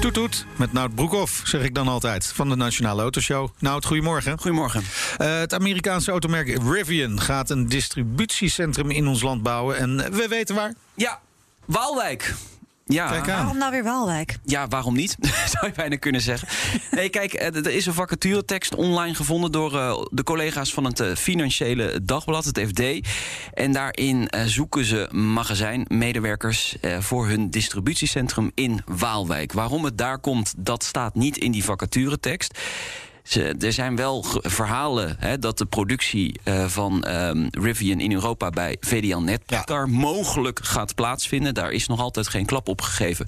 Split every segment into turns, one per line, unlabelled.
Toet toet, met Nout Broekhoff, zeg ik dan altijd, van de Nationale Autoshow. Nout, goedemorgen.
Goedemorgen.
Eh, het Amerikaanse automerk Rivian gaat een distributiecentrum in ons land bouwen. En we weten waar.
Ja, Waalwijk. Ja.
Kijk aan.
Waarom nou weer Waalwijk?
Ja, waarom niet? Zou je bijna kunnen zeggen. Nee, kijk, eh, er is een vacaturetekst online gevonden door eh, de collega's van het eh, Financiële Dagblad, het FD. En daarin eh, zoeken ze magazijnmedewerkers eh, voor hun distributiecentrum in Waalwijk. Waarom het daar komt, dat staat niet in die vacaturetekst. Ze- er zijn wel ge- verhalen hè, dat de productie eh, van ehm, Rivian in Europa bij VDL Netcar mogelijk gaat plaatsvinden. Daar is nog altijd geen klap op gegeven.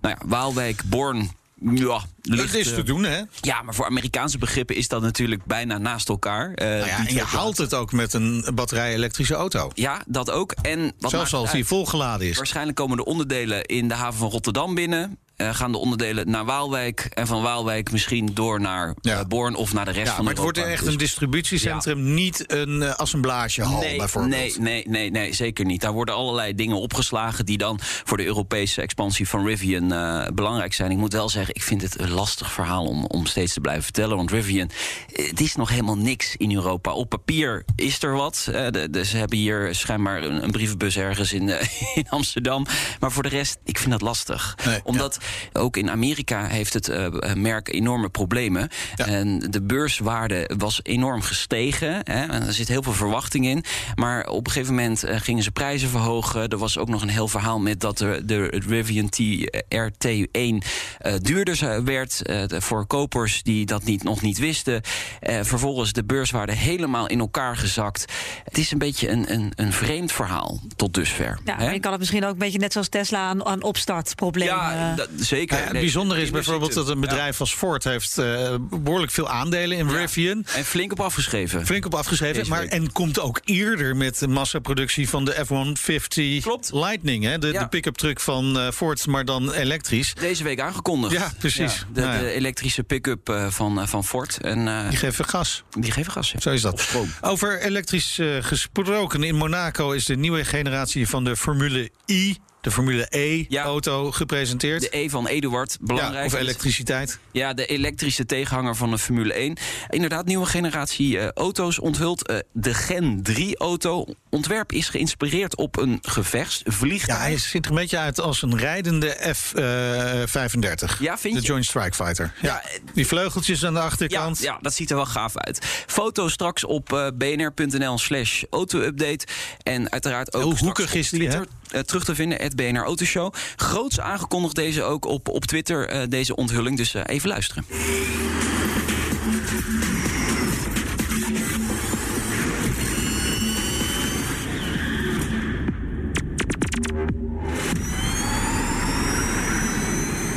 Nou ja, Waalwijk, Born. Ja, ligt,
Het is
eh,
te doen, hè? Nou
ja, maar voor Amerikaanse begrippen is dat natuurlijk bijna naast elkaar. eh,
Nou ja,
die
en je
twee plaatsen.
haalt het ook met een batterij-elektrische auto.
Ja, dat ook. En wat maakt
Zelfs
het
als die
uit?
volgeladen is.
Waarschijnlijk komen de onderdelen in de haven van Rotterdam binnen. eh, gaan de onderdelen naar Waalwijk. En van Waalwijk misschien door naar
Ja.
eh, Born of naar de rest
Ja,
van
maar het wordt
Europa.
echt
Dus-
een distributiecentrum, niet een eh, assemblagehal bijvoorbeeld. Eh,
Nee, nee, nee, nee, zeker niet. Daar worden allerlei dingen opgeslagen die dan voor de Europese expansie van Rivian eh, belangrijk zijn. Ik moet wel zeggen, ik vind het een lastig verhaal om, om steeds te blijven vertellen. Want Rivian, eh, het is nog helemaal niks in Europa. Op papier is er wat. Eh, de- de- ze hebben hier schijnbaar een, een brievenbus ergens in, eh, in Amsterdam. Maar voor de rest, ik vind dat lastig.
Nee,
Omdat ook in Amerika heeft het eh, merk enorme problemen.
Ja.
En de beurswaarde was enorm gestegen. Hè, en er zit heel veel verwachting in. Maar op een gegeven moment eh, gingen ze prijzen verhogen. Er was ook nog een heel verhaal met dat de, de Rivian TRT1 eh, duurder zou- werd. eh, de- voor kopers die dat niet, nog niet wisten. Eh, vervolgens de beurswaarde helemaal in elkaar gezakt. Het is een beetje een, een, een vreemd verhaal tot dusver.
Ja,
hè?
maar je kan het misschien ook een beetje net zoals Tesla aan, aan opstartproblemen.
ja,
eh,
dat- zeker.
Nou ja, het
Nee,
bijzondere is
kinderen
bijvoorbeeld dat
zitten.
een
Ja.
bedrijf als Ford heeft eh, behoorlijk veel aandelen in Rivian.
En flink op afgeschreven.
Flink op afgeschreven.
Deze
Maar,
week.
en komt ook eerder met de massaproductie van de F-150
Klopt.
Lightning. Hè? De,
Ja.
de pick-up truck van eh, Ford, maar dan elektrisch.
Deze week aangekondigd.
Ja, precies.
de,
Nou ja.
de elektrische pick-up eh, van, eh, van Ford. En eh,
Die geven gas.
die geven gas. ja.
Zo is
Op
dat.
stroom.
Over elektrisch eh, gesproken. In Monaco is de nieuwe generatie van de Formule I, de Formule
Ja.
E-auto, gepresenteerd.
De E van Eduard,
ja,
belangrijk.
of elektriciteit.
Ja, de elektrische tegenhanger van de Formule 1. Inderdaad, nieuwe generatie eh, auto's onthult. Eh, de Gen 3-auto. Ontwerp is geïnspireerd op een gevechtsvliegtuig.
Ja, hij ziet er een beetje uit als een rijdende F-35.
Ja, vind
de
je?
Joint Strike Fighter. Ja,
Ja, eh,
die vleugeltjes aan de achterkant.
Ja, ja, dat ziet er wel gaaf uit. Foto straks op eh, bnr.nl slash auto-update. En uiteraard ook
Heel
straks
hoekig
op
is die, hè?
Twitter, eh, terug te vinden, het BNR Autoshow. Groots aangekondigd deze ook op, op Twitter, eh, deze onthulling. Dus eh, even luisteren.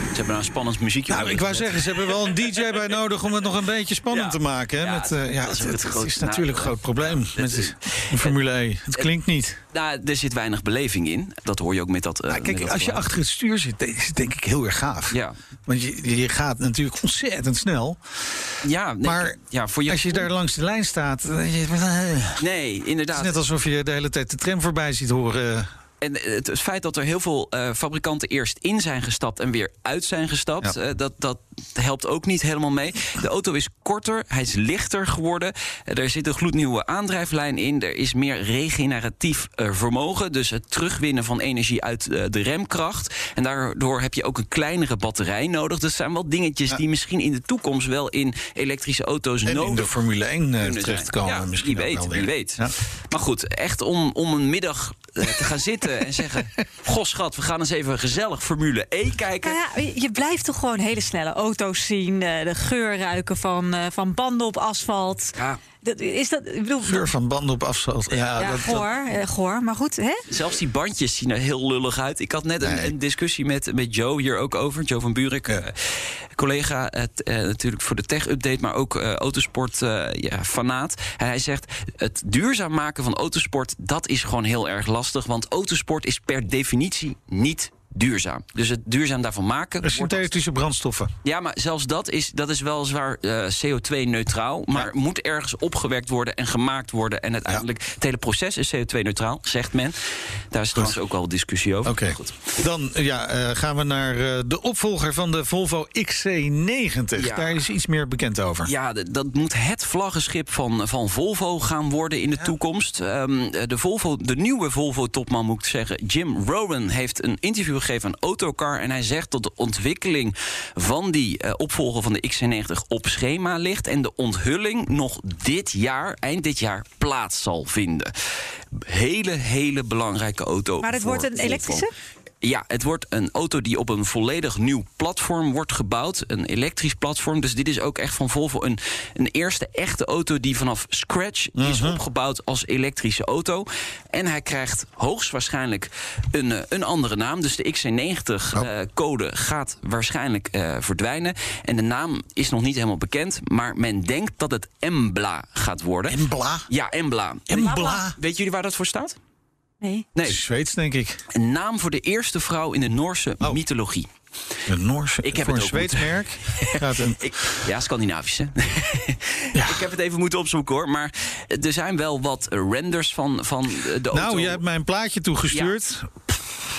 Ze hebben nou een spannend muziekje.
Nou, ik wou zeggen, ze hebben wel een DJ bij nodig om het nog een beetje spannend
Ja.
te maken. Hè?
Ja,
Met, eh, ja,
dat is
het,
een
het
groot
is natuurlijk een
nadeel,
groot probleem met de de Formule E. Het klinkt niet.
Nou, er zit weinig beleving in. Dat hoor je ook met dat. eh, met
Nou, Kijk,
dat
als je
geluid.
achter het stuur zit, is het denk ik heel erg gaaf.
Ja.
Want je, je gaat natuurlijk ontzettend snel.
Ja, nee,
Maar
ja, voor je.
als je daar langs de lijn staat... eh, je- Het
Nee,
is
inderdaad.
net alsof je de hele tijd de tram voorbij ziet horen. eh,
En het, het feit dat er heel veel eh, fabrikanten eerst in zijn gestapt en weer uit zijn gestapt,
Ja.
eh, dat, dat helpt ook niet helemaal mee. De auto is korter, hij is lichter geworden. Eh, er zit een gloednieuwe aandrijflijn in. Er is meer regeneratief eh, vermogen. Dus het terugwinnen van energie uit eh, de remkracht. En daardoor heb je ook een kleinere batterij nodig. Dat zijn wel dingetjes die misschien in de toekomst wel in elektrische auto's
En
nodig
in de Formule 1 eh,
kunnen
terechtkomen
zijn. Ja,
misschien
wie
ook
weet,
wel weer.
wie weet.
Ja.
Maar goed, echt om, om een middag eh, te gaan zitten en zeggen... Goh schat, we gaan eens even gezellig Formule E kijken.
Nou ja, je- je blijft toch gewoon hele snelle auto's zien. eh, De geur ruiken van, eh, van banden op asfalt.
Ja.
Dat, is dat, ik bedoel,
Geur van banden op afstand. Ja,
ja,
dat, dat-
goor, eh, goor, maar goed, hè?
Zelfs die bandjes zien er heel lullig uit. Ik had net een,
Nee.
een discussie met, met Joe hier ook over. Joe van Buurik,
Ja.
eh, collega het, eh, natuurlijk voor de tech-update... maar ook eh, autosport eh, ja, fanaat. En hij zegt, het duurzaam maken van autosport... dat is gewoon heel erg lastig. Want autosport is per definitie niet duurzaam. Dus het duurzaam daarvan maken... wordt lastig.
synthetische brandstoffen.
Ja, maar zelfs dat is, dat is weliswaar eh CO2-neutraal. Maar moet ergens opgewerkt worden en gemaakt worden. En uiteindelijk, het hele proces is CO2-neutraal, zegt men. Daar is trouwens ook wel discussie over.
Oké,
Maar goed.
dan eh, ja, eh, gaan we naar eh, de opvolger van de Volvo XC90.
Ja.
Daar is iets meer bekend over.
Ja, d- dat moet het vlaggenschip van, van Volvo gaan worden in de toekomst. Ehm, de, Volvo, de nieuwe Volvo-topman, moet ik zeggen, Jim Rowan... heeft een interview gegeven aan Autocar... en hij zegt dat de ontwikkeling van die eh, opvolger van de XC90 op schema ligt... en de onthulling nog dit jaar, eind dit jaar, plaats zal vinden. Hele, hele belangrijke auto
Maar het
voor
wordt een
Volvo.
elektrische?
Ja, het wordt een auto die op een volledig nieuw platform wordt gebouwd. Een elektrisch platform. Dus dit is ook echt van Volvo een, een eerste echte auto die vanaf scratch is opgebouwd als elektrische auto. En hij krijgt hoogstwaarschijnlijk een, eh, een andere naam. Dus de XC90-code eh, gaat waarschijnlijk eh, verdwijnen. En de naam is nog niet helemaal bekend. Maar men denkt dat het Embla gaat worden.
Embla.
Ja, Embla.
Embla.
Weet jullie waar dat voor staat?
Nee.
Nee,
Zweeds, denk ik.
een naam voor de eerste vrouw in de Noorse
Oh.
mythologie.
Een Noorse.
Ik heb
voor
het
een
ook
Zweeds merk. Gaat een,
Ik, ja, Scandinavisch, hè? Ik heb het even moeten opzoeken, hoor. Maar er zijn wel wat renders van, van de auto.
nou, jij hebt mij een plaatje toegestuurd.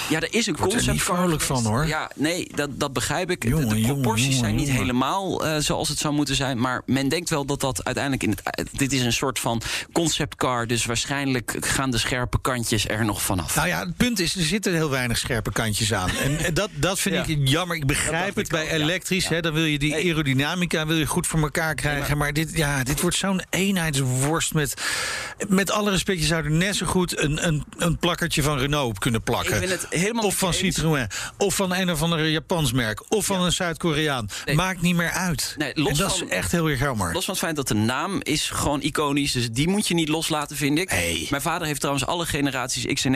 Ja, er is een
er
concept
niet vrolijk van, hoor.
Ja, nee, dat, dat begrijp ik. De-
Jongen,
de
jongen,
proporties
jongen,
zijn niet
jongen.
helemaal eh, zoals het zou moeten zijn. Maar men denkt wel dat dat uiteindelijk... In het, eh, dit is een soort van conceptcar. Dus waarschijnlijk gaan de scherpe kantjes er nog vanaf.
Nou ja, het punt is, er zitten heel weinig scherpe kantjes aan. En eh, dat, dat vind
Ja.
ik jammer. Ik
Dat
begrijp
dacht
het
ik
bij
ook, ja.
elektrisch. Hè, dan wil je die
Nee.
aerodynamica wil je goed voor elkaar krijgen. maar dit, ja, dit wordt zo'n eenheidsworst. Met, met alle respect, je zou er net zo goed een, een, een plakkertje van Renault op kunnen plakken.
Ik ben het helemaal
of
met
van
je eens.
Citroën. Of van een of ander Japans merk. Of van een Zuid-Koreaan.
Nee.
Maakt niet meer uit.
Nee, los
en dat
van-
is echt heel erg jammer.
Los van het feit dat de naam is gewoon iconisch. Dus die moet je niet loslaten, vind ik.
Nee.
Mijn vader heeft trouwens alle generaties XC90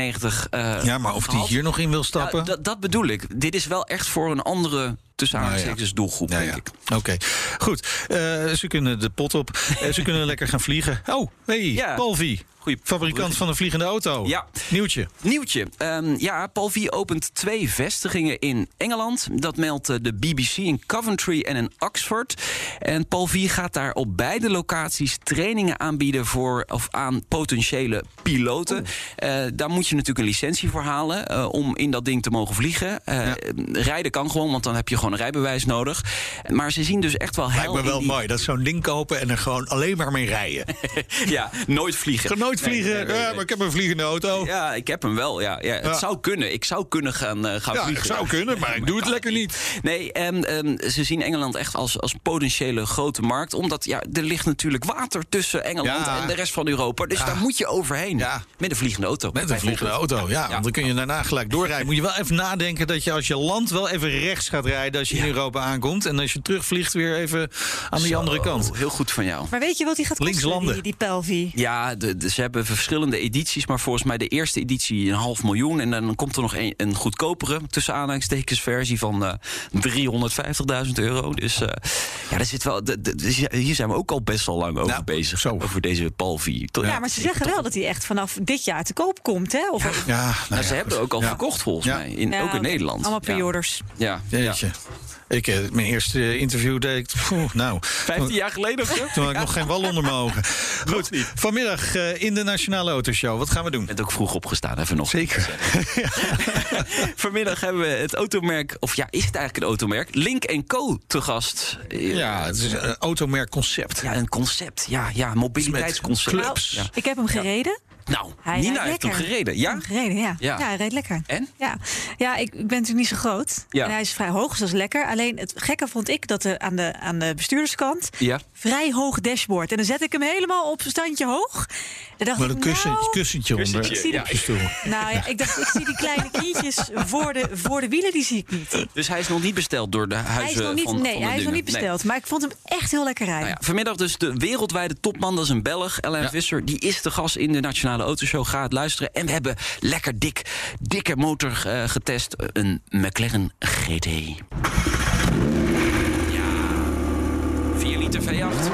eh
ja, maar of die
gehad.
hier nog in wil
Ja,
stappen.
dat, dat bedoel ik. Dit is wel echt voor een andere tussen
Nou ja.
aanhalingstekens doelgroep,
Ja,
denk
ja.
ik.
Oké, goed. Eh, ze kunnen de pot op. Eh, ze kunnen lekker gaan vliegen. Oh, hey,
Ja.
Palvi.
Goeie
Fabrikant
brug.
van een vliegende auto.
Ja.
Nieuwtje.
Nieuwtje. Ehm, ja, Palvi opent twee vestigingen in Engeland. Dat meldt eh, de BBC in Coventry en in Oxford. En Palvi gaat daar op beide locaties trainingen aanbieden voor, of aan potentiële
Oh.
piloten. Eh, daar moet je natuurlijk een licentie voor halen eh, om in dat ding te mogen vliegen. Eh, Rijden kan gewoon, want dan heb je gewoon een rijbewijs nodig. Maar ze zien dus echt wel
Lijkt
heel
me wel mooi dat zo'n ding kopen en er gewoon alleen maar mee rijden.
Ja, nooit vliegen.
Gewoon nooit
Nee,
vliegen.
nee, nee,
Ja,
nee.
maar ik heb een vliegende auto. Ja,
Ja, ik heb hem wel. Ja, ja. Het
Ja.
zou kunnen. Ik zou kunnen gaan, eh, gaan vliegen.
ik zou kunnen, maar ik doe het lekker niet.
Oh Nee, en, ehm, ze zien Engeland echt als, als potentiële grote markt. Omdat ja, er ligt natuurlijk water tussen Engeland
Ja.
en de rest van Europa. Dus daar moet je overheen.
Ja.
Met een vliegende auto.
Met een vliegende auto, ja. Want dan kun je daarna gelijk doorrijden. Moet je wel even nadenken dat je als je land wel even rechts gaat rijden... als je in Europa aankomt. En als je terugvliegt weer even aan die andere kant.
Oh, Heel goed van jou.
Maar weet je wat die gaat
Links
kosten, die,
landen.
die Pelvi?
Ja, de, de- ze hebben verschillende edities. Maar volgens mij de eerste editie een half miljoen. En dan komt er nog een, een goedkopere, tussen aanhalingstekens, versie van eh, 350.000 euro. Dus eh, ja, daar zit wel, de- de- dus ja, hier zijn we ook al best wel lang over
Nou,
bezig.
zo.
Over deze Palvi.
Ja, maar ze zeggen wel dat hij echt vanaf dit jaar te koop komt, hè? Of
Ja, nou
Nou,
ja,
ze hebben
goed.
ook al
Ja.
verkocht volgens
Ja.
mij. In,
Ja,
ook in
oké.
Nederland.
Allemaal
Ja.
pre-orders.
Ja. ja.
Jeetje. Ik, eh, mijn eerste interview deed ik. pfoeh, nou,
15 jaar geleden of zo?
toen had ik nog geen wal onder mijn ogen. Goed, vanmiddag eh, in de Nationale Autoshow. Wat gaan we doen?
bent ook vroeg opgestaan, even nog.
Zeker.
Vanmiddag hebben we het automerk, of ja, is het eigenlijk een automerk? Link Co te gast. Eh,
Ja, het is een automerkconcept.
Ja, een concept. Ja, ja mobiliteitsconcept.
Met clubs.
Ja.
Ik heb hem gereden.
Nou,
Hij
Nina
rijdt
heeft hem
lekker.
gereden. Ja?
Hem gereden, ja.
Ja.
ja. hij reed lekker.
En?
Ja, ja ik, ik ben natuurlijk niet zo groot.
Ja.
En hij is vrij hoog, dus dat is lekker. Alleen het gekke vond ik dat er aan de, aan de bestuurderskant...
Ja.
vrij hoog dashboard. En dan zet ik hem helemaal op een standje hoog. Dan dacht
Met
ik,
een kussen,
nou,
kussentje onder.
Ik zie
Ja,
die-
de stoel.
Nou ja, ik dacht, ik zie die kleine knietjes voor de, voor de wielen, die zie ik niet.
Dus hij is nog niet besteld door de huizen
Hij is nog niet,
van,
nee,
van de
hij is
dingen.
nog niet besteld. Maar ik vond hem echt heel lekker rijden.
Nou ja, vanmiddag dus de wereldwijde topman, dat is een Belg, Ellen Visser. Die is de gast in de Nationale Autoshow. Ga het luisteren. En we hebben lekker dik, dikke motor eh, getest. Een McLaren GT. Ja, 4 liter V8.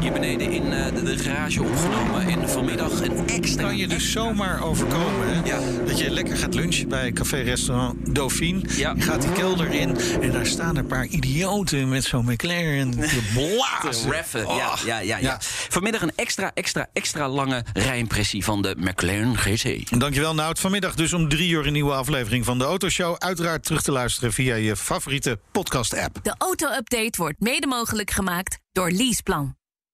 Hier beneden in eh, de, de garage opgenomen. En vanmiddag een extra...
kan je dus zomaar overkomen. Hè?
Ja.
Dat je lekker gaat lunchen bij café-restaurant Dauphine.
Ja.
Je gaat die kelder in en daar staan een paar idioten met zo'n McLaren te
te
blazen.
raffen.
Oh.
Ja, ja, ja, ja.
Ja.
Vanmiddag een extra, extra, extra lange rijimpressie van de McLaren GT.
Dankjewel Nout. Vanmiddag dus om drie uur een nieuwe aflevering van de Autoshow. Uiteraard terug te luisteren via je favoriete podcast-app.
De auto-update wordt mede mogelijk gemaakt door Leaseplan.